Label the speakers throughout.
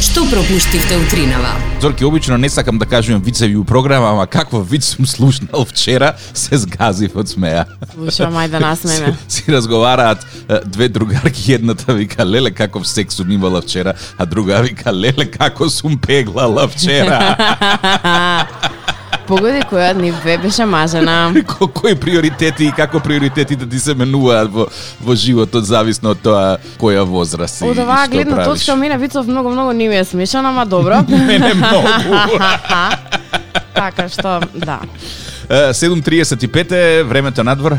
Speaker 1: Што пропуштивте утринава?
Speaker 2: Зорки, обично не сакам да кажувам вицеви у програма, ама каква виц сум слушнал вчера, се згазив од смеа.
Speaker 3: Слушам, ајде да насмеме.
Speaker 2: Си, си разговараат е, две другарки, едната вика леле каков секс сум имала вчера, а друга вика леле како сум пеглала вчера.
Speaker 3: Погоди која од нив две беше мажена.
Speaker 2: Ко, кои приоритети и како приоритетите ти се менуваат во, во животот, зависно од тоа која возраст си
Speaker 3: Од оваа гледна точка мене Вицов многу многу не ми е смешан, ама добро.
Speaker 2: Мене многу.
Speaker 3: така што, да.
Speaker 2: Е, 7.35 е времето надвор.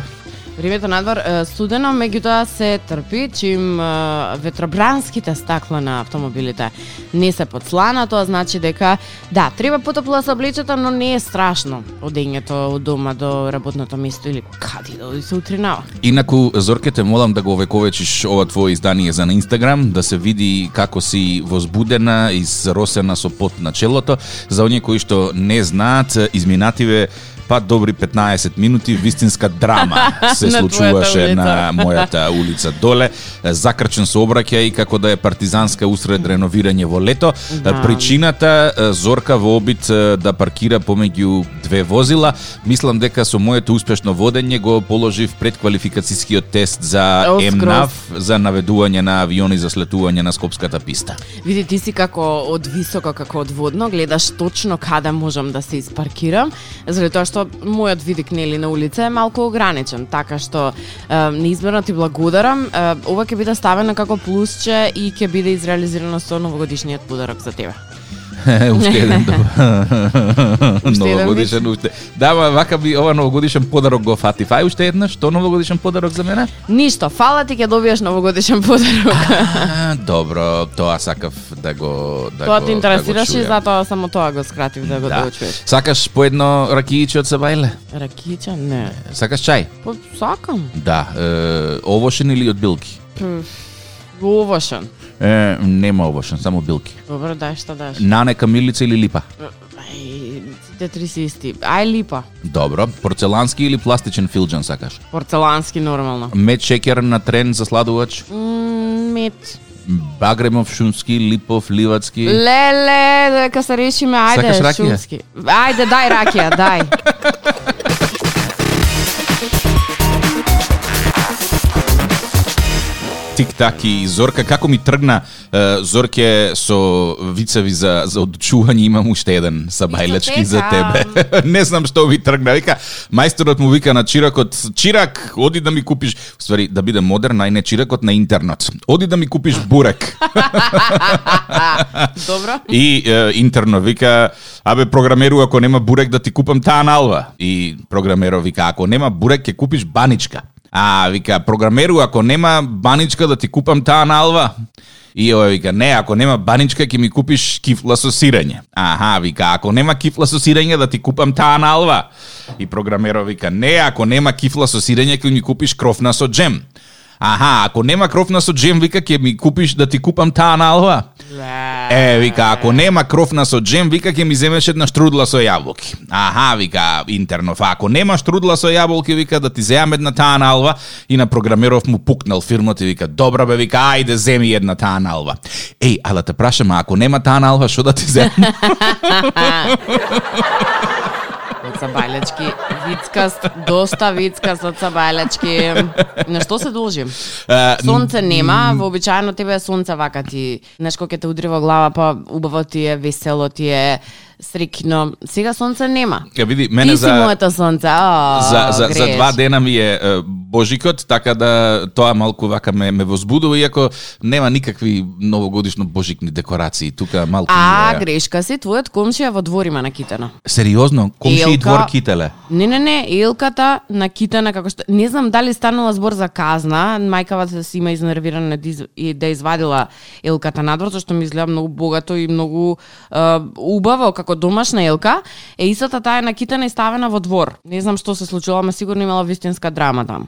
Speaker 3: Времето надвор е, студено, меѓутоа се трпи, чим е, ветробранските стакла на автомобилите не се подслана, тоа значи дека да, треба потопло да се облечете, но не е страшно одењето од дома до работното место или каде да оди се утринава.
Speaker 2: Инаку, Зорке, те молам да го овековечиш ова твое издание за на Инстаграм, да се види како си возбудена и заросена со пот на челото. За оние кои што не знаат, изминативе па добри 15 минути вистинска драма се
Speaker 3: На
Speaker 2: случуваше
Speaker 3: твојата
Speaker 2: на
Speaker 3: улица.
Speaker 2: мојата улица доле. Закрчен сообраќај и како да е партизанска усред реновирање во лето.
Speaker 3: Да.
Speaker 2: Причината е, Зорка во обид е, да паркира помеѓу две возила. Мислам дека со моето успешно водење го положив предквалификацијскиот тест за
Speaker 3: О, скрос.
Speaker 2: МНАВ за наведување на авиони за слетување на скопската писта.
Speaker 3: Види, ти си како од високо, како од водно, гледаш точно каде можам да се испаркирам, заради тоа што мојот видик нели на улица е малку ограничен, така што е, неизмерно ти благодарам. Е, ова ќе биде ставено како плюсче и ќе биде изреализирано со новогодишниот подарок за тебе.
Speaker 2: уште еден добар.
Speaker 3: Уште еден
Speaker 2: новогодишен уште. Да, ма, вака би ова новогодишен подарок го фатив. Ај уште еднаш, што новогодишен подарок за мене?
Speaker 3: Ништо, фала ти ќе добиеш новогодишен подарок.
Speaker 2: А, добро, тоа сакав да го да
Speaker 3: тоа
Speaker 2: го,
Speaker 3: те интересираше
Speaker 2: да
Speaker 3: и
Speaker 2: го чујам.
Speaker 3: затоа само тоа го скратив да го
Speaker 2: Да.
Speaker 3: доучиш.
Speaker 2: Сакаш по едно ракијиче од Сабајле?
Speaker 3: Ракича, не.
Speaker 2: Сакаш чај?
Speaker 3: Па, сакам.
Speaker 2: Да, е, овошен или од билки?
Speaker 3: Овошен.
Speaker 2: Е, нема овошен, само билки.
Speaker 3: Добро, дај што даш.
Speaker 2: Нане, камилица или липа?
Speaker 3: Ај, сите три се исти. Ај липа.
Speaker 2: Добро, порцелански или пластичен филџан сакаш?
Speaker 3: Порцелански нормално.
Speaker 2: Мед шекер на трен за сладувач?
Speaker 3: М, Мет.
Speaker 2: Багремов, шумски, липов, ливадски?
Speaker 3: Леле, дека се решиме, ајде,
Speaker 2: Сакаш ракија?
Speaker 3: шумски. Ајде, дај ракија, дај.
Speaker 2: Тик-так и Зорка, како ми тргна е, Зорке со вицеви за, за одчување, имам уште еден сабајлечки
Speaker 3: Исто
Speaker 2: за
Speaker 3: така.
Speaker 2: тебе. Не знам што ви тргна, вика, мајсторот му вика на Чиракот, Чирак, оди да ми купиш, ствари, да биде модерн, ај не Чиракот, на интернот. Оди да ми купиш бурек.
Speaker 3: Добро.
Speaker 2: И е, интерно вика, абе програмеру, ако нема бурек да ти купам таа налва. И програмеру вика, ако нема бурек ќе купиш баничка. А вика, програмеру, ако нема баничка да ти купам таа налва. И овој вика, не, ако нема баничка ќе ми купиш кифла со сирење. Аха, вика, ако нема кифла со сирење да ти купам таа налва. И програмеру вика, не, ако нема кифла со сирење ќе ми купиш крофна со джем. Аха, ако нема крофна со джем, вика, ќе ми купиш да ти купам таа налва. Е, вика, ако нема крофна со джем, вика, ќе ми земеш една штрудла со јаболки. Аха, вика, интерно, фа, ако нема штрудла со јаболки, вика, да ти земам една таа налва. И на програмеров му пукнал фирмот и вика, добра бе, вика, ајде, земи една таа налва. Еј, а да те прашам, а ако нема таа налва, што да ти земам?
Speaker 3: Од Сабајлечки, вицкаст, доста вицкаст од Сабајлечки. На што се должи?
Speaker 2: Е,
Speaker 3: Сонце нема, вообичаено тебе е сонце вака ти, знаеш кога ќе те удри во глава, па убаво ти е, весело ти е, срекно. Сега сонце нема.
Speaker 2: Ке види, мене
Speaker 3: Ти си
Speaker 2: за...
Speaker 3: моето сонце. О,
Speaker 2: за, за, за
Speaker 3: греш.
Speaker 2: два дена ми е, е божикот, така да тоа малку вака ме, ме возбудува, иако нема никакви новогодишно божикни декорации, тука малку
Speaker 3: А,
Speaker 2: ми е...
Speaker 3: грешка си, твојот комшија во дворима на Китена.
Speaker 2: Сериозно, комши и
Speaker 3: Елка.
Speaker 2: двор кителе.
Speaker 3: Не, не, не, Елката на Китена, како што... Не знам дали станала збор за казна, мајкава се си има изнервирана да из- и да извадила Елката надвор, зашто ми изгледа многу богато и многу е, убаво, како домашна Елка. Е, истата таа е на Китена и ставена во двор. Не знам што се случило, ама сигурно имала вистинска драма там.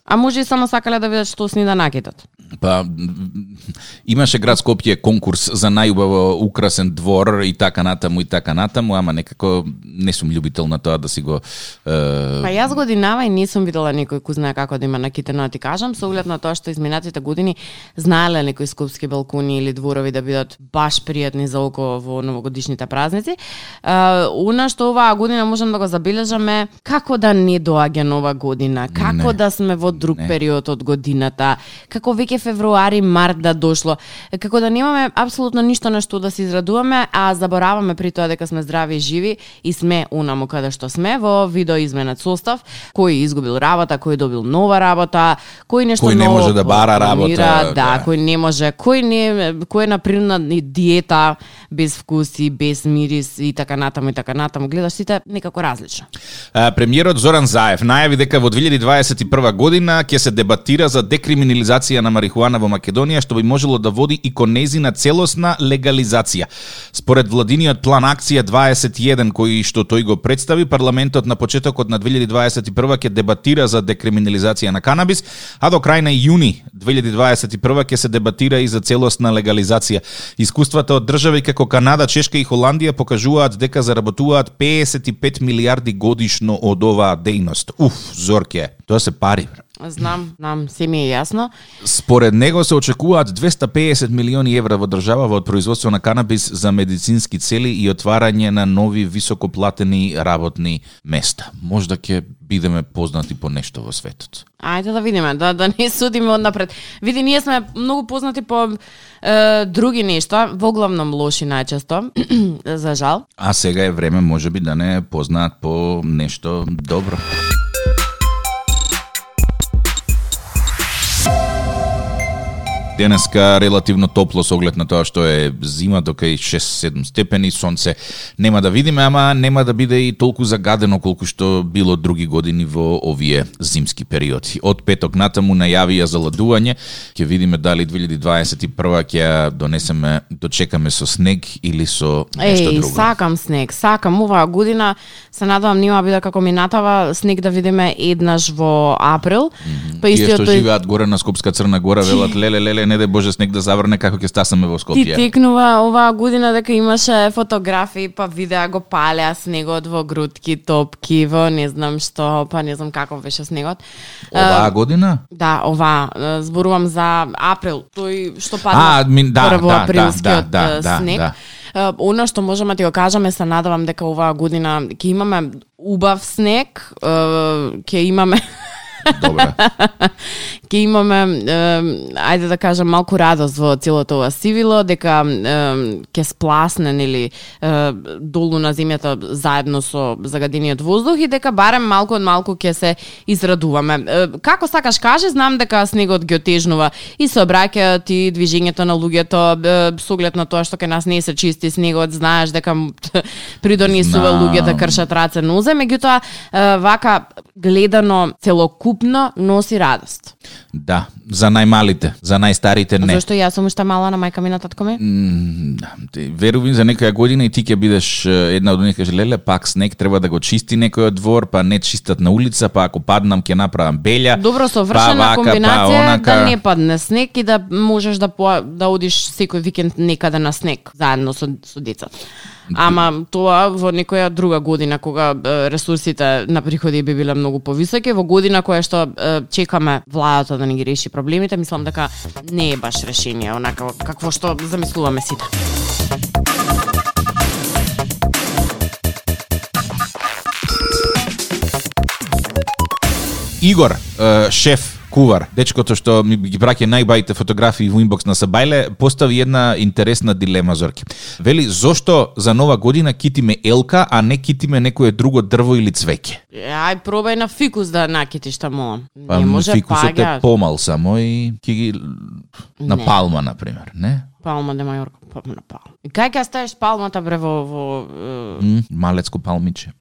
Speaker 3: А може и само сакале да видат што сни да накидат.
Speaker 2: Па, м, имаше град Скопје конкурс за најубаво украсен двор и така натаму и така натаму, ама некако не сум љубител на тоа да си го... Е,
Speaker 3: Па јас годинава и не сум видела некој кој знае како да има накитено, да ти кажам, со оглед на тоа што изминатите години знаеле некои скопски балкони или дворови да бидат баш пријатни за око во новогодишните празници. А, она што оваа година можам да го забележаме, како да не доаѓа нова година, како
Speaker 2: Не.
Speaker 3: да сме во друг
Speaker 2: Не.
Speaker 3: период од годината, како веќе февруари, март да дошло, како да немаме апсолутно ништо на што да се израдуваме, а забораваме при тоа дека сме здрави и живи и сме унаму каде што сме во видоизменет состав, кој изгубил работа, кој добил нова работа, кој нешто
Speaker 2: Кој не
Speaker 3: ново
Speaker 2: може да бара
Speaker 3: планира,
Speaker 2: работа,
Speaker 3: да,
Speaker 2: да.
Speaker 3: кој не може, кој не кој е на принудна диета без вкус и без мирис и така натаму и така натаму, гледаш сите некако различно.
Speaker 2: А, Премиерот Зоран Заев најави дека во 2021 година ќе се дебатира за декриминализација на марихуана во Македонија, што би можело да води и кон незина целосна легализација. Според владиниот план акција 21 кој што тој го представи, парламентот на почетокот на 2021 ќе дебатира за декриминализација на канабис, а до крај на јуни 2021 ќе се дебатира и за целосна легализација. Искуствата од држави како Канада, Чешка и Холандија покажуваат дека заработуваат 55 милиарди годишно од оваа дејност. Уф, Зорке, тоа се пари. бре.
Speaker 3: Знам, знам, се ми е јасно.
Speaker 2: Според него се очекуваат 250 милиони евра во државава од производство на канабис за медицински цели и отварање на нови високоплатени работни места. Можда ќе бидеме познати по нешто во светот.
Speaker 3: Ајде да видиме, да да не судиме однапред. Види, ние сме многу познати по е, други нешта, во главном лоши најчесто, за жал.
Speaker 2: А сега е време може би да не познаат по нешто добро. Денеска релативно топло со оглед на тоа што е зима до кај 6-7 степени, сонце нема да видиме, ама нема да биде и толку загадено колку што било други години во овие зимски периоди. Од петок натаму најавија заладување, ќе видиме дали 2021 ќе ја донесеме, дочекаме со снег или со нешто
Speaker 3: Еј,
Speaker 2: друго.
Speaker 3: сакам снег, сакам оваа година. Се надевам нема да биде како минатава, снег да видиме еднаш во април. Па
Speaker 2: Тие што
Speaker 3: истиот тој
Speaker 2: живеат горе на Скопска Црна Гора велат леле леле не дај боже снег да заврне како ќе стасаме во
Speaker 3: Ти
Speaker 2: Скопје.
Speaker 3: текнува оваа година дека имаше фотографии, па видеа го палеа снегот во грудки, топки, во не знам што, па не знам како беше снегот.
Speaker 2: Оваа година?
Speaker 3: Да, ова, е, зборувам за април, тој што
Speaker 2: А,
Speaker 3: падна
Speaker 2: мин- да,
Speaker 3: прво
Speaker 2: да, да,
Speaker 3: априлскиот
Speaker 2: да, да,
Speaker 3: е,
Speaker 2: да,
Speaker 3: снег.
Speaker 2: да.
Speaker 3: Е, Оно што можеме ти го кажаме, се надавам дека оваа година ќе имаме убав снег, е, ќе имаме
Speaker 2: Добра.
Speaker 3: ќе имаме е, ајде да кажам малку радост во целото ова сивило дека е, ќе спласне нели е, долу на земјата заедно со загадениот воздух и дека барем малку од малку ќе се израдуваме. Е, како сакаш каже, знам дека снегот ги отежнува и сообраќајот и движењето на луѓето е, со оглед на тоа што ќе нас не се чисти снегот, знаеш дека м- придонесува
Speaker 2: Знам.
Speaker 3: луѓето кршат раце нозе, меѓутоа е, вака гледано целокупно носи радост.
Speaker 2: Да, за најмалите, за најстарите не.
Speaker 3: Зошто јас сум уште мала на мајка ми на татко ми?
Speaker 2: М, да, ти- Верувам за некоја година и ти ќе бидеш е, една од них каже леле пак снег треба да го чисти некојот двор, па не чистат на улица, па ако паднам ќе направам белја.
Speaker 3: Добро
Speaker 2: па
Speaker 3: совршена
Speaker 2: вака,
Speaker 3: комбинација
Speaker 2: па онака.
Speaker 3: да не падне снег и да можеш да по, да одиш секој викенд некаде на снег заедно со со децата. Ама тоа во некоја друга година кога е, ресурсите на приходи би биле многу повисоки, во година која што е, чекаме владата да ни ги реши проблемите, мислам дека не е баш решение онака какво што замислуваме сите.
Speaker 2: Игор, е, шеф кувар, дечкото што ми ги праќа најбајте фотографии во инбокс на Сабајле, постави една интересна дилема Зорки. Вели зошто за нова година китиме елка, а не китиме некое друго дрво или цвеќе?
Speaker 3: Ај пробај на фикус да накитиш таму.
Speaker 2: Па
Speaker 3: не може
Speaker 2: фикусот е
Speaker 3: паѓа.
Speaker 2: помал само и ќе ги на палма на пример, не?
Speaker 3: Палма де Мајорка, палма на палма. И кај ќе ставиш палмата бре во, во е,
Speaker 2: М, малецко палмиче.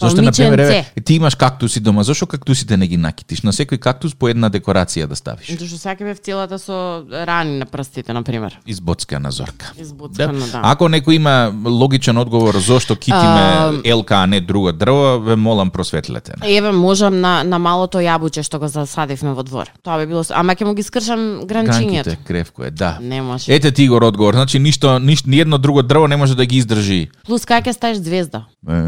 Speaker 2: Зошто на
Speaker 3: Палмиченце.
Speaker 2: пример еве, ти имаш кактуси дома, зошто кактусите не ги накитиш? На секој кактус по една декорација да ставиш.
Speaker 3: зашто сака бев целата со рани на прстите на пример.
Speaker 2: Избоцкана зорка.
Speaker 3: Избуцкано, да.
Speaker 2: Ако некој има логичен одговор зошто китиме елка, а не друго дрво, ве молам просветлете. не.
Speaker 3: Еве можам на на малото јабуче што го засадивме во двор. Тоа би било, с- ама ќе му ги скршам гранчињето.
Speaker 2: Гранките, кревко е, да.
Speaker 3: Не може.
Speaker 2: Ете ти го одговор, значи ништо, ниш, ниедно друго дрво не може да ги издржи.
Speaker 3: Плюс кај ќе ставиш звезда?
Speaker 2: Е,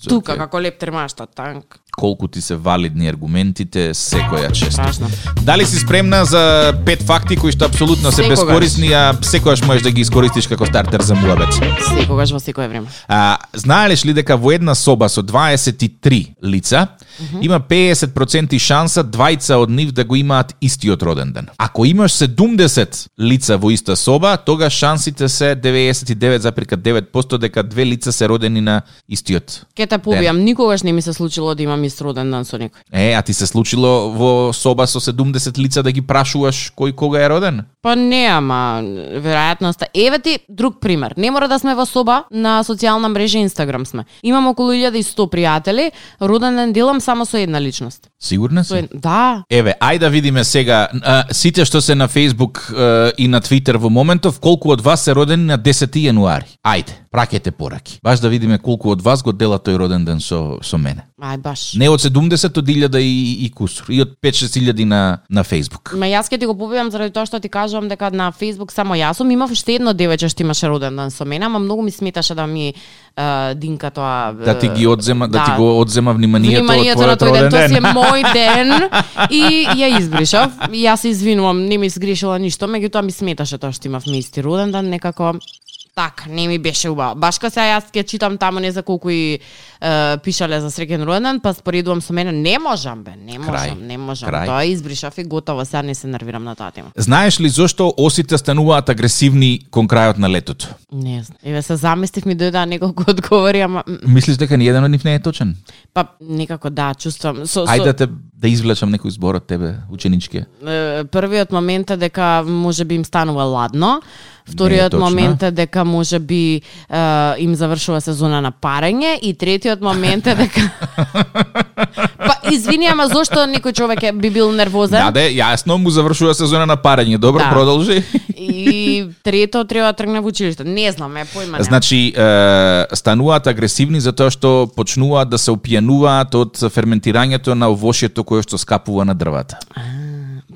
Speaker 2: за
Speaker 3: Тука
Speaker 2: те.
Speaker 3: како лептер машта танк.
Speaker 2: Колку ти се валидни аргументите, секоја чест.
Speaker 3: Страшно.
Speaker 2: Дали си спремна за пет факти кои што апсолутно се
Speaker 3: Секогаш.
Speaker 2: бескорисни, а секогаш можеш да ги искористиш како стартер за муабет?
Speaker 3: Секогаш во секое време.
Speaker 2: А, знаелеш ли дека во една соба со 23 лица има 50% шанса двајца од нив да го имаат истиот роден ден. Ако имаш 70 лица во иста соба, тогаш шансите се 99,9% дека две лица се родени на истиот.
Speaker 3: Ке те побијам, никогаш не ми се случило да имам ист роден дан со некој.
Speaker 2: Е, а ти се случило во соба со 70 лица да ги прашуваш кој кога е роден?
Speaker 3: Па не, ама веројатноста. Еве ти друг пример. Не мора да сме во соба, на социјална мрежа Инстаграм сме. Имам околу 1100 пријатели, роден ден делам само со една личност.
Speaker 2: Сигурна си?
Speaker 3: Со ед... Да,
Speaker 2: Еве, ајде да видиме сега а, сите што се на Facebook а, и на Twitter во моментов, колку од вас се родени на 10 јануари. Ајде, пракете пораки. Баш да видиме колку од вас го дела тој роден ден со со мене.
Speaker 3: ај баш.
Speaker 2: Не од 70 од 1000 и, и кусур, и од 5-6 илјади на на Facebook.
Speaker 3: Ма јас ќе ти го побијам заради тоа што ти кажувам дека на Facebook само јас сум. Имав уште едно девече што имаше роден дан со мене, ама многу ми сметаше да ми е, динка тоа е,
Speaker 2: Да ти ги одзема, да, ти го одзема вниманието,
Speaker 3: вниманието на
Speaker 2: од твојот
Speaker 3: тој ден,
Speaker 2: роден
Speaker 3: тоа си е
Speaker 2: ден.
Speaker 3: мој ден и ја избришав. Јас се извинувам, не ми сгрешила ништо, меѓутоа ми сметаше тоа што имав мести роден ден, некако така, не ми беше убаво. Башка се јас ќе читам таму не за колку и е, пишале за среќен роден ден, па споредувам со мене, не можам бе, не можам,
Speaker 2: Крај.
Speaker 3: не можам.
Speaker 2: Крај.
Speaker 3: Тоа избришав и готово, сега не се нервирам на таа тема.
Speaker 2: Знаеш ли зошто осите стануваат агресивни кон крајот на летото?
Speaker 3: Не знам. Еве се заместив ми дојдоа неколку одговори, ама м,
Speaker 2: Мислиш дека ни еден од нив не е точен?
Speaker 3: па некако да, чувствам со,
Speaker 2: Ајде
Speaker 3: со
Speaker 2: да те да извлечам некој збор од тебе, ученичке.
Speaker 3: Е, првиот момент е дека може би им станува ладно,
Speaker 2: Не е
Speaker 3: вториот
Speaker 2: точно.
Speaker 3: момент е дека може би е, им завршува сезона на парење и третиот момент е дека Па извини, ама зошто некој човек е, би бил нервозен?
Speaker 2: Да, да, јасно, му завршува сезона на парење. Добро,
Speaker 3: Да.
Speaker 2: продолжи.
Speaker 3: И трето треба да тргне во училиште. Не знам, е појма немам.
Speaker 2: Значи, е, стануваат агресивни затоа што почнуваат да се опијануваат од ферментирањето на овошјето кое што скапува на дрвата.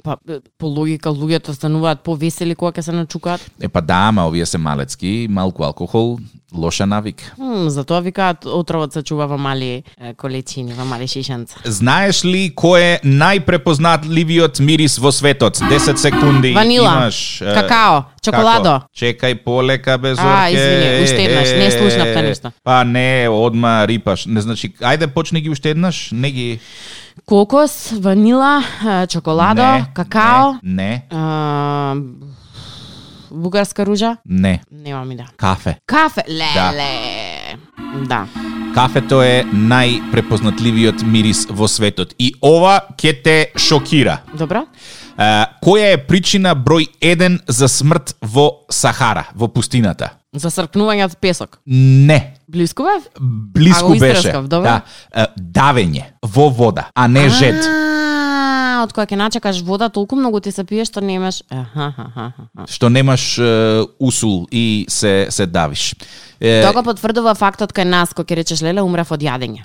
Speaker 3: Па, е, по логика луѓето стануваат повесели кога ќе се начукаат.
Speaker 2: Е па да, ама овие се малецки, малку алкохол, лоша навик.
Speaker 3: Хм, затоа викаат отровот се чува во мали е, колечини, во мали шишанца.
Speaker 2: Знаеш ли кој е најпрепознатливиот мирис во светот? 10 секунди
Speaker 3: Ванила,
Speaker 2: имаш. е,
Speaker 3: какао, чоколадо.
Speaker 2: Како? Чекај полека без орке.
Speaker 3: А, извини, уште еднаш, не слушнав те ништо.
Speaker 2: Па не, одма рипаш. Не значи, ајде почни ги уште еднаш, не ги
Speaker 3: Кокос, ванила, е, чоколадо,
Speaker 2: не,
Speaker 3: какао,
Speaker 2: Не, не,
Speaker 3: а, бугарска ружа,
Speaker 2: не.
Speaker 3: немам идеја.
Speaker 2: Кафе.
Speaker 3: Кафе, леле.
Speaker 2: Да.
Speaker 3: Да. да.
Speaker 2: Кафето е најпрепознатливиот мирис во светот и ова ќе те шокира.
Speaker 3: Добро?
Speaker 2: Е, која е причина број 1 за смрт во Сахара, во пустината?
Speaker 3: За сркнување од песок.
Speaker 2: Не.
Speaker 3: Блиску бев? А,
Speaker 2: Блиску
Speaker 3: го
Speaker 2: беше.
Speaker 3: истраскав, добро.
Speaker 2: Да. Е, давење во вода, а не жед.
Speaker 3: А, од која ќе начекаш вода, толку многу ти се пие што не имаш. Аха, аха, аха.
Speaker 2: што немаш е, усул и се се давиш. Е,
Speaker 3: Тоа го потврдува фактот кај нас, кој ќе речеш, леле, умрав од јадење.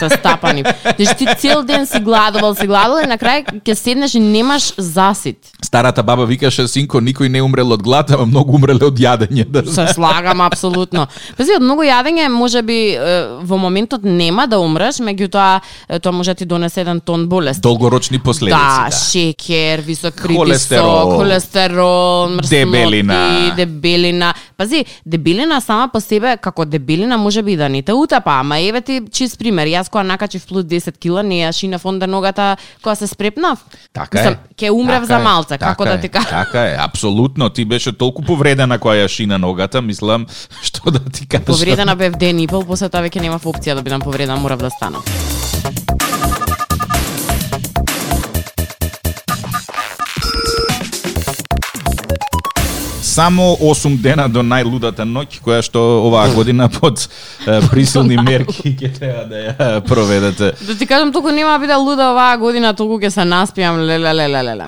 Speaker 3: Со стапани. Значи ти цел ден си гладувал, си гладувал и на крај ќе седнеш и немаш засит.
Speaker 2: старата баба викаше синко никој не умрел од глад, ама многу умреле од јадење. Да
Speaker 3: Се слагам апсолутно. Пази, од многу јадење може би е, во моментот нема да умреш, меѓутоа е, тоа може да ти донесе еден тон болест.
Speaker 2: долгорочни последици.
Speaker 3: да,
Speaker 2: Да,
Speaker 3: шекер, висок притисок,
Speaker 2: Холестерол.
Speaker 3: холестерол, мрсноти,
Speaker 2: Дебелина.
Speaker 3: дебелина. Пази, дебелина сама по себе, како дебелина може би и да не те утапа, ама еве ти чист пример. Јас кога накачив плюс 10 кила, не ја шинав онда ногата кога се спрепнав.
Speaker 2: Така е.
Speaker 3: Мислам, Ке умрев
Speaker 2: Така
Speaker 3: за
Speaker 2: е,
Speaker 3: малце,
Speaker 2: така
Speaker 3: како да
Speaker 2: е,
Speaker 3: ти кажам.
Speaker 2: Така е, апсолутно. Ти беше толку повредена која ја шина ногата, мислам, што да ти кажам.
Speaker 3: Повредена бев ден и пол, после тоа веќе немав опција да бидам повредена, морав да станам.
Speaker 2: само 8 дена до најлудата ноќ која што оваа година под е, присилни мерки ќе треба да ја проведете.
Speaker 3: Да ти кажам, толку нема да биде луда оваа година, толку ќе се наспијам, леле, леле, леле.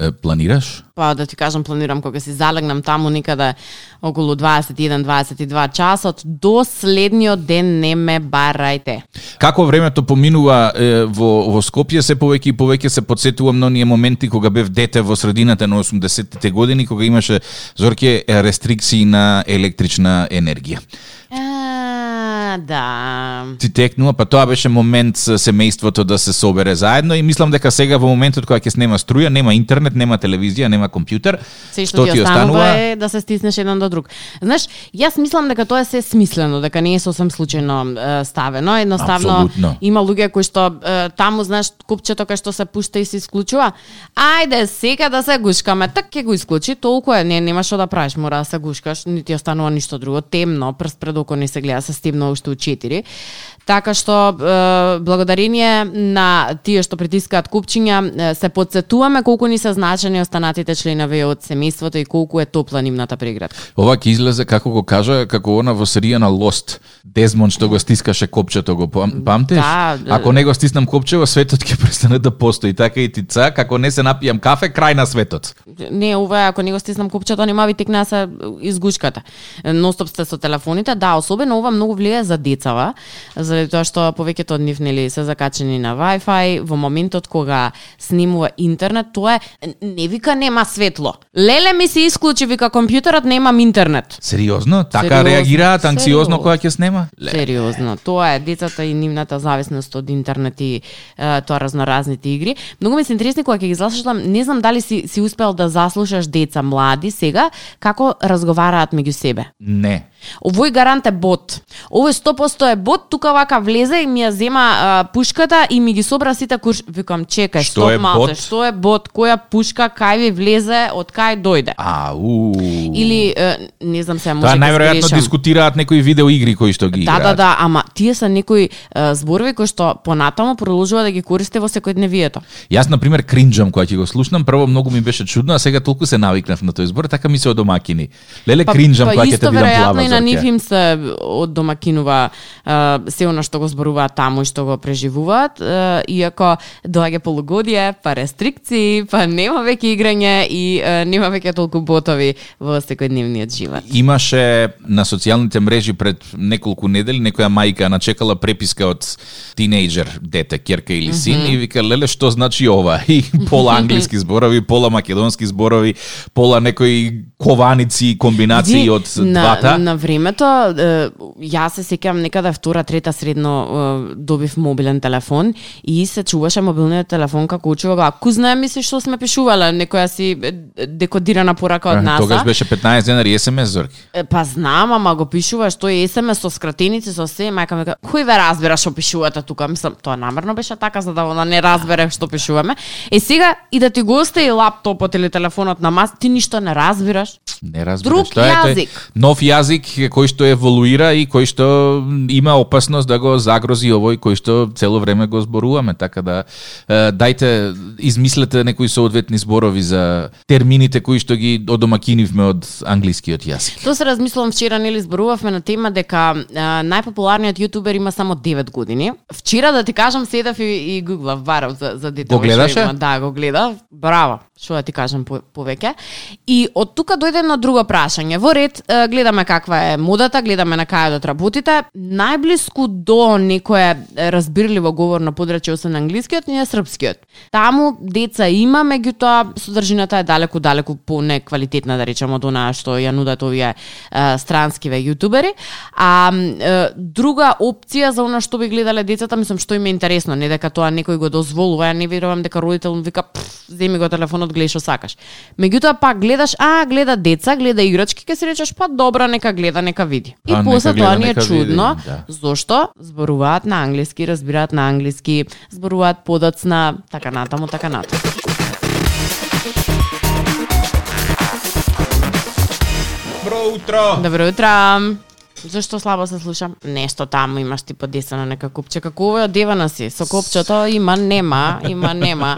Speaker 2: Е, Планираш?
Speaker 3: Па да ти кажам, планирам кога си залегнам таму никаде околу 21-22 часот, до следниот ден не ме барајте.
Speaker 2: Како времето поминува е, во, во Скопје, се повеќе и повеќе се подсетувам на оние моменти кога бев дете во средината на 80-тите години, кога имаше зорке е, рестрикции на електрична енергија.
Speaker 3: А, да.
Speaker 2: Ти текнува, па тоа беше момент со семејството да се собере заедно и мислам дека сега во моментот кога ќе нема струја, нема интернет, нема телевизија, нема компјутер,
Speaker 3: Се што, ти останува е да се стиснеш еден до друг. Знаеш, јас мислам дека тоа е се смислено, дека не е сосем случајно е, ставено, едноставно
Speaker 2: Апсолутно.
Speaker 3: има луѓе кои што е, таму знаеш купчето кај што се пушта и се исклучува. Ајде сега да се гушкаме, так ќе го исклучи, толку е, не нема што да правиш, мора да се гушкаш, не ти останува ништо друго, темно, прст пред око не се гледа, се стимна уште у 4. Така што е, благодарение на тие што притискаат купчиња е, се подсетуваме колку ни се значени останатите членови од семејството и колку е топла нивната преградка.
Speaker 2: Ова ќе излезе како го кажа, како она во серија на Lost, Дезмон што го стискаше копчето, го пам- памтиш?
Speaker 3: Да.
Speaker 2: Ако не го стиснам копчево, светот ќе престане да постои. Така и ти ца, како не се напијам кафе, крај на светот.
Speaker 3: не ова е, ако не го стиснам купчето, нема ви текна се изгучката. Ностоп сте со телефоните, да, особено ова многу влијае за децава, заради тоа што повеќето од нив нели се закачени на Wi-Fi, во моментот кога снимува интернет, тоа е не вика нема светло. Леле ми се исклучи вика компјутерот, немам интернет.
Speaker 2: Сериозно? Така
Speaker 3: Сериозно.
Speaker 2: реагираат анксиозно
Speaker 3: Сериозно.
Speaker 2: кога ќе снема?
Speaker 3: Сериозно, тоа е децата и нивната зависност од интернет и е, тоа разноразните игри. Многу ми се интересни кога ќе ги слушам, не знам дали си си успел да заслушаш деца млади сега како разговараат меѓу себе.
Speaker 2: Не.
Speaker 3: Овој гарант е бот. Овој 100% е бот, тука вака влезе и ми ја зема а, пушката и ми ги собра сите курш. Викам, чекај,
Speaker 2: Што
Speaker 3: стоп
Speaker 2: е
Speaker 3: малце,
Speaker 2: бот?
Speaker 3: што е бот, која пушка, кај ви влезе, од кај дојде.
Speaker 2: Ау.
Speaker 3: Или, е, не знам се, може
Speaker 2: Тоа
Speaker 3: да
Speaker 2: најверојатно
Speaker 3: грешам.
Speaker 2: дискутираат некои видеоигри кои што ги
Speaker 3: Да,
Speaker 2: играат.
Speaker 3: да, да, ама тие се некои е, зборови кои што понатаму продолжува да ги користи во секојдневието.
Speaker 2: Јас на пример кринџам кога ќе го слушнам, прво многу ми беше чудно, а сега толку се навикнав на тој збор, така ми се одомакини. Леле кринџам кога ќе те
Speaker 3: Па, исто
Speaker 2: видам плава.
Speaker 3: веројатно и на
Speaker 2: Зорке.
Speaker 3: нив им се од домакинува е, се оно што го зборуваат таму и што го преживуваат, е, иако доаѓа полугодие, па рестрикции, па нема веќе играње и е, нема веќе толку ботови во секојдневниот живот.
Speaker 2: Имаше на социјалните мрежи пред неколку недели некоја мајка начекала преписка од тинејџер дете, керка или син mm -hmm. и вика леле што значи ова и пола англиски зборови, пола македонски зборови, пола некои кованици и комбинации
Speaker 3: Види,
Speaker 2: од
Speaker 3: на,
Speaker 2: двата.
Speaker 3: На времето, е, јас се сеќавам некаде втора, трета средно е, добив мобилен телефон и се чуваше мобилниот телефон како учува го. А ку знае ми се што сме пишувале, некоја си е, декодирана порака од
Speaker 2: Аха,
Speaker 3: НАСА.
Speaker 2: Тогаш беше 15 денари SMS зорки.
Speaker 3: Е, Па знам, ама го пишуваш тој SMS со скратеници со се, мајка ми кажа, кој ве разбира што пишувате тука? Мислам, тоа намерно беше така за да она не разбере што пишуваме. Е сега и да ти го остане лаптопот или телефонот на мас, ти ништо не разбираш.
Speaker 2: Не разбираш.
Speaker 3: Друг
Speaker 2: тоа е тој
Speaker 3: јазик.
Speaker 2: Нов јазик кој што еволуира и кој што има опасност да го загрози овој кој што цело време го зборуваме, така да е, дајте измислете некои соодветни зборови за термините кои што ги одомакинивме од англискиот јазик.
Speaker 3: Тоа се размислувам вчера, нели зборувавме на тема дека а, најпопуларниот јутубер има само 9 години. Вчера да ти кажам седев и, и гуглав барав за за дете.
Speaker 2: Го гледаше?
Speaker 3: Да, го гледав. Браво. Што да ти кажам по, повеќе. И од тука дојде на друго прашање. Во ред е, гледаме каква е модата, гледаме на кај од работите. Најблиску до некое е, разбирливо говорно подрачје освен на англискиот ни е српскиот. Таму деца има, меѓутоа содржината е далеку далеку по неквалитетна да речеме од онаа што ја нудат овие е, странскиве јутубери. А м, е, друга опција за она што би гледале децата, мислам што им е интересно, не дека тоа некој го дозволува, ја не верувам дека родител му вика «Пф, земи го телефонот, гледај што сакаш. Меѓутоа пак гледаш, а гледа деца, гледа играчки, ке си речеш па добра, нека гледа, нека види. И
Speaker 2: А, нека
Speaker 3: после
Speaker 2: гледа,
Speaker 3: тоа ни е
Speaker 2: нека види,
Speaker 3: чудно,
Speaker 2: да.
Speaker 3: зошто зборуваат на англиски, разбираат на англиски, зборуваат подоцна, така натаму, така натаму.
Speaker 2: Добро утро.
Speaker 3: Добро утро. Зашто слабо се слушам? Нешто таму имаш ти подесено нека купче. Како овој одевана си? Со копчето има нема, има нема.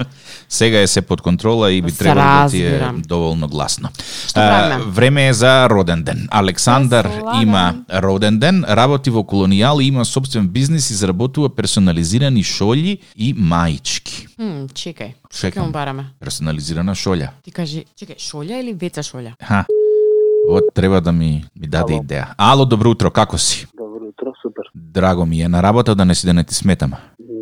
Speaker 2: Сега е се под контрола и би
Speaker 3: Се
Speaker 2: требало да ти е
Speaker 3: разбирам.
Speaker 2: доволно гласно.
Speaker 3: Што
Speaker 2: А,
Speaker 3: време?
Speaker 2: време е за роден ден. Александар
Speaker 1: Сладен.
Speaker 2: има роден ден, работи во колонијал и има собствен бизнис, изработува персонализирани шолји и маички.
Speaker 3: Хм, чекај.
Speaker 2: Чекам.
Speaker 3: Ќе му бараме.
Speaker 2: Персонализирана шолја.
Speaker 3: Ти кажи, чекај, шолја или беца шолја?
Speaker 2: Ха. Од треба да ми ми даде
Speaker 4: Ало.
Speaker 2: идеја. Ало, добро утро, како си?
Speaker 4: Добро утро, супер.
Speaker 2: Драго ми е на работа да не си да не ти сметам.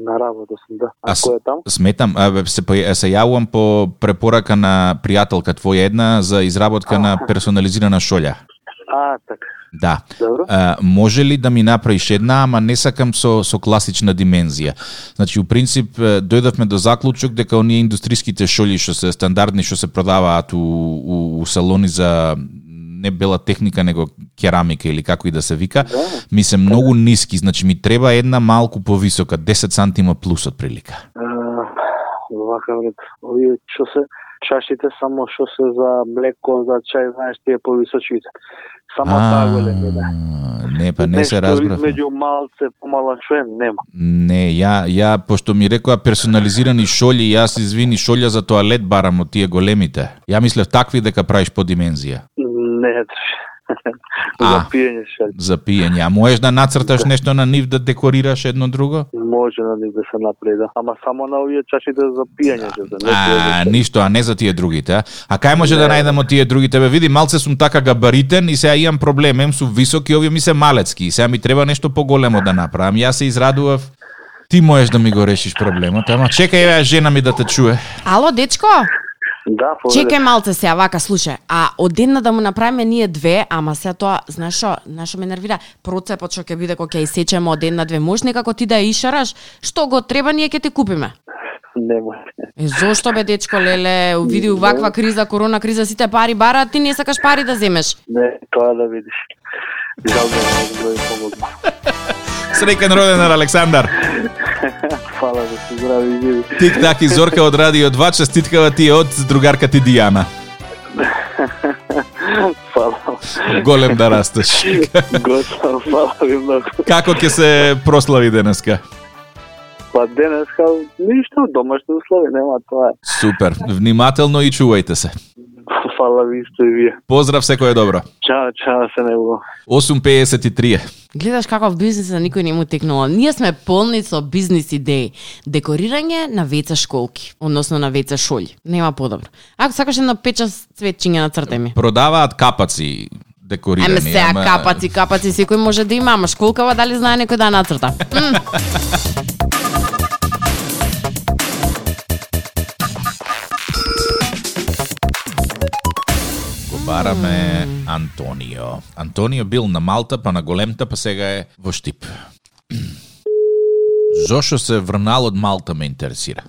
Speaker 4: На работа сум, да. А,
Speaker 2: Аз-
Speaker 4: кој е там?
Speaker 2: Сметам, а, бе, се, пој- се јавувам по препорака на пријателка твоја една за изработка на персонализирана шолја.
Speaker 4: А, така.
Speaker 2: Да.
Speaker 4: Добро.
Speaker 2: А, може ли да ми направиш една, ама не сакам со со класична димензија. Значи, у принцип, е, дојдовме до заклучок дека оние индустриските шолји што се стандардни, што се продаваат у, у, у салони за не бела техника, него керамика или како и да се вика,
Speaker 4: Да.
Speaker 2: ми се многу ниски, значи ми треба една малку повисока, 10 сантима плюс од прилика.
Speaker 4: А, вака брат, овие што се чашите само што се за млеко, за чај, знаеш, тие повисочите. Само таа да. големина.
Speaker 2: не, па не се разбрав.
Speaker 4: Меѓу малце помала што е, нема.
Speaker 2: Не, ја, ја, пошто ми рекоа персонализирани шолји, јас извини, шолја за тоалет барам од тие големите. Ја мислев такви дека правиш по димензија.
Speaker 4: Не е трш.
Speaker 2: А.
Speaker 4: За пиење шел.
Speaker 2: За пиење. А можеш да нацрташ нешто на нив да декорираш едно друго?
Speaker 4: Може на нив да се напреда, ама само на овие чашите за пиење ќе се. не пиење.
Speaker 2: Да. А, ништо, а не за тие другите. А, а кај може да најдам од тие другите? Бе, види, малце сум така габаритен и сега имам проблем. Ем су високи, овие ми се малецки. И сега ми треба нешто поголемо да направам. Јас се израдував. Ти можеш да ми го решиш проблемот, ама чекај бе, жена ми да те чуе.
Speaker 3: Ало, дечко?
Speaker 4: Да, повеќе
Speaker 3: Чекај малце сега, вака, слушај. А од една да му направиме ние две, ама сега тоа, знаеш што, знаеш што ме нервира? Процепот што ќе биде кога ќе исечеме од една две, може некако ти да ја ишараш, што го треба ние ќе ти купиме.
Speaker 4: не може.
Speaker 3: Е, зошто бе дечко леле, види уваква криза, корона криза, сите пари бараат, ти не сакаш пари да земеш.
Speaker 4: Не, тоа да видиш. Жал ми е, да ви помогна.
Speaker 2: Среќен роден ден, Александар.
Speaker 4: Фала да се здрави и живи.
Speaker 2: Тик так и Зорка од Радио 2 честиткава ти е од другарка ти Дијана.
Speaker 4: Фала.
Speaker 2: Голем да растеш.
Speaker 4: Готово, фала ви многу.
Speaker 2: Како ќе се прослави денеска?
Speaker 4: Па денеска ништо, домашни услови нема тоа. е.
Speaker 2: Супер. Внимателно и чувајте се.
Speaker 4: Фала ви исто и вие.
Speaker 2: Поздрав, секој е добро.
Speaker 4: Чао, чао, се него.
Speaker 2: 8.53
Speaker 3: Гледаш како в бизнисот никој не му текнува. Ние сме полни со бизнис идеи. Декорирање на веца школки, односно на веца шолји. Нема подобро. Ако сакаш едно печа цветчиња на цртај ми.
Speaker 2: Продаваат капаци декорирани.
Speaker 3: Еме сега капаци, капаци, секој може да има, ама школкава дали знае некој да ја нацрта. М.
Speaker 2: Го бараме Антонио. Антонио бил на Малта, па на Големта, па сега е во Штип. Зошо се врнал од Малта ме интересира.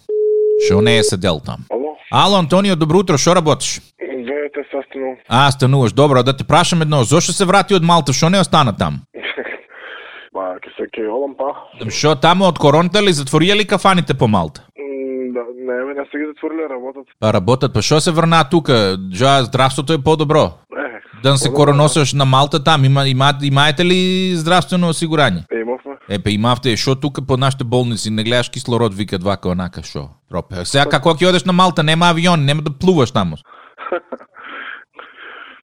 Speaker 2: Шо не е седел там?
Speaker 5: Ало,
Speaker 2: Ало, Антонио, добро утро, шо работиш?
Speaker 5: веете се останал.
Speaker 2: А, стануваш, добро, да те прашам едно, зошто се врати од Малта, шо не остана там?
Speaker 5: Ба, ке се ке одам па.
Speaker 2: Шо тамо од короната ли затворија ли кафаните по Малта?
Speaker 5: М, Да, не, ме, не се ги затвориле работат.
Speaker 2: Па работат, па шо се врна тука? Джа, здравството е по-добро.
Speaker 5: Е,
Speaker 2: Да се короносаш на Малта там, има, има, имаете ли здравствено осигурање?
Speaker 5: имавме.
Speaker 2: Е, па имавте, шо тука по нашите болници, не гледаш кислород, вика вака, онака, шо? Пропе. Сега, како ќе одеш на Малта, нема авион, нема да плуваш таму.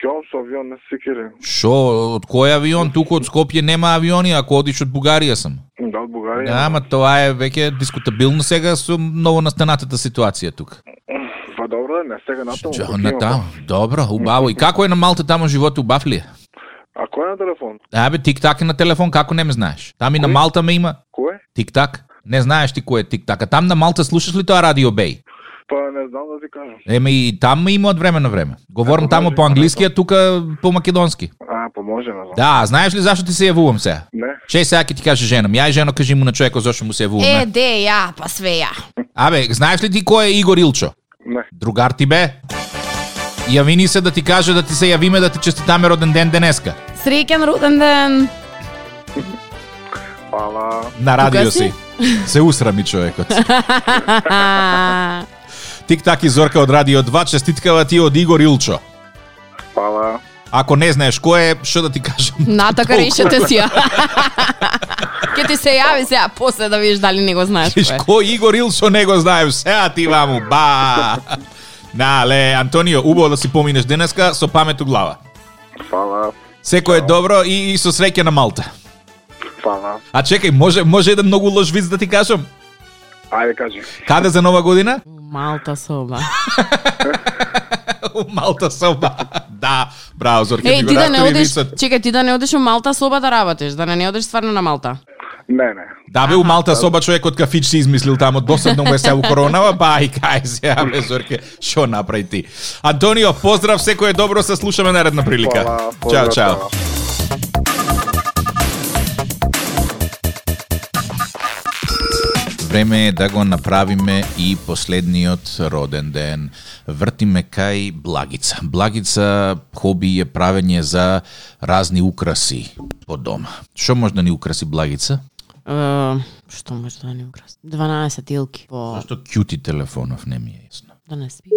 Speaker 5: Ке одам со авион, не се кирен.
Speaker 2: Шо, од кој авион? Тука од Скопје нема авиони, ако одиш од Бугарија сам.
Speaker 5: Да, од Бугарија.
Speaker 2: Да, ама тоа е веќе дискутабилно сега со ново настанатата ситуација тука.
Speaker 5: Па добро, не сега натаму.
Speaker 2: Чо,
Speaker 5: ке
Speaker 2: на
Speaker 5: имам,
Speaker 2: таму. Добро, убаво. И како е на Малта тамо живот убав ли е?
Speaker 5: па. А кој е на телефон?
Speaker 2: Абе, тик-так е на телефон, како не ме знаеш? Там и на Малта ме има
Speaker 5: Кој?
Speaker 2: тик-так. Не знаеш ти кој е тик-так. А там на Малта слушаш ли тоа радио Бей?
Speaker 5: Па не знам да ти кажам.
Speaker 2: Еме и там ме има од време на време. Говорам
Speaker 5: Ако
Speaker 2: тамо
Speaker 5: може,
Speaker 2: по англиски, а тука по македонски.
Speaker 5: А, поможе, не знам.
Speaker 2: Да, знаеш ли зашто ти се јавувам сега?
Speaker 5: Не.
Speaker 2: Че сега ќе ти каже женам. Ја и жено кажи му на човекот зашто му се
Speaker 3: Е,
Speaker 2: јавуваме.
Speaker 3: де ја, па све ја.
Speaker 2: Абе, знаеш ли ти кој е Игор Илчо?
Speaker 5: Не.
Speaker 2: Другар ти бе? Јави ни се да ти каже да ти се јавиме да ти честитаме роден ден денеска.
Speaker 3: Среќен роден ден.
Speaker 5: Фала.
Speaker 2: На радио
Speaker 3: си?
Speaker 2: си. Се усрами човекот.
Speaker 3: А,
Speaker 2: да Тик так и Зорка од Радио 2 чestitkava ти од Игор Илчо.
Speaker 5: Фала.
Speaker 2: Ако не знаеш кој е, што да ти кажам?
Speaker 3: Натака
Speaker 2: Толку.
Speaker 3: решете си ја. Ке ти се јави сега, после да видиш дали не го знаеш
Speaker 2: Виж,
Speaker 3: кој е.
Speaker 2: кој Игор Илсо не го знаем, сега ти ваму, ба! Нале, Антонио, убаво да си поминеш денеска, со памет у глава.
Speaker 5: Фала,
Speaker 2: Секој е добро и, и со среќа на Малта.
Speaker 5: фала.
Speaker 2: А чекај, може, може еден многу лош виц да ти кажам?
Speaker 5: Ајде кажи.
Speaker 2: Каде за нова година?
Speaker 3: Малта соба.
Speaker 2: У Малта соба. да, браво, Зорке.
Speaker 3: Еј,
Speaker 2: ми го
Speaker 3: ти да не
Speaker 2: растори
Speaker 3: одиш,
Speaker 2: вицот.
Speaker 3: чекај, ти да не одиш у Малта соба да работиш, да не, не одиш стварно на Малта.
Speaker 5: Не, не.
Speaker 2: Да бе, у Малта соба човек од кафич си измислил тамо, досадно му е се у коронава, ба и кај се, а бе, Зорке, шо направи ти? Антонио, поздрав, секој е добро, се слушаме наредна прилика.
Speaker 5: Фала,
Speaker 2: Чао,
Speaker 5: поздрав,
Speaker 2: чао.
Speaker 5: фала.
Speaker 2: Време е да го направиме и последниот роден ден. Вртиме кај Благица. Благица хоби е правење за разни украси по дома. Што може да ни украси Благица?
Speaker 3: Е, што може да не украс? 12 илки по...
Speaker 2: Зашто кјути телефонов не ми е јасно.
Speaker 3: Да не спие.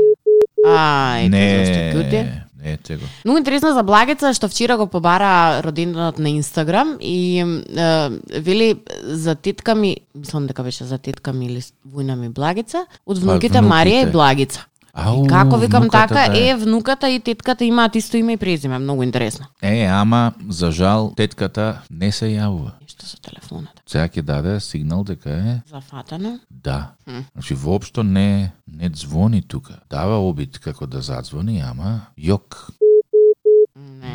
Speaker 3: Ај,
Speaker 2: не,
Speaker 3: зашто кјути?
Speaker 2: не е те го.
Speaker 3: Многу интересно за Благеца што вчера го побара роденденот на Инстаграм и е, вели за тетка ми, мислам дека беше за тетка ми или војна ми Благеца, од
Speaker 2: внуките.
Speaker 3: внуките Марија и Благица.
Speaker 2: Ау,
Speaker 3: и како викам
Speaker 2: внуката,
Speaker 3: така,
Speaker 2: да.
Speaker 3: е, внуката и тетката имаат исто име и презиме, многу интересно.
Speaker 2: Е, ама, за жал, тетката не се јавува.
Speaker 3: Нешто со телефонот.
Speaker 2: Сега ќе даде сигнал дека е
Speaker 3: Зафатано.
Speaker 2: да. Значи, воопшто не, не звони тука. Дава обид како да задзвони, ама јок.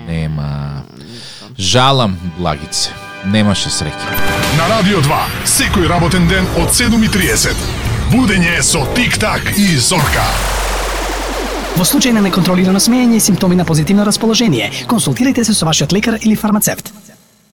Speaker 2: Нема. Жалам, благице. Немаше среќа.
Speaker 1: На Радио 2, секој работен ден од 7.30. Будење со Тик-так и Зорка.
Speaker 6: Во случај на неконтролирано смеење и симптоми на позитивно расположение, консултирайте се со вашиот лекар или фармацевт.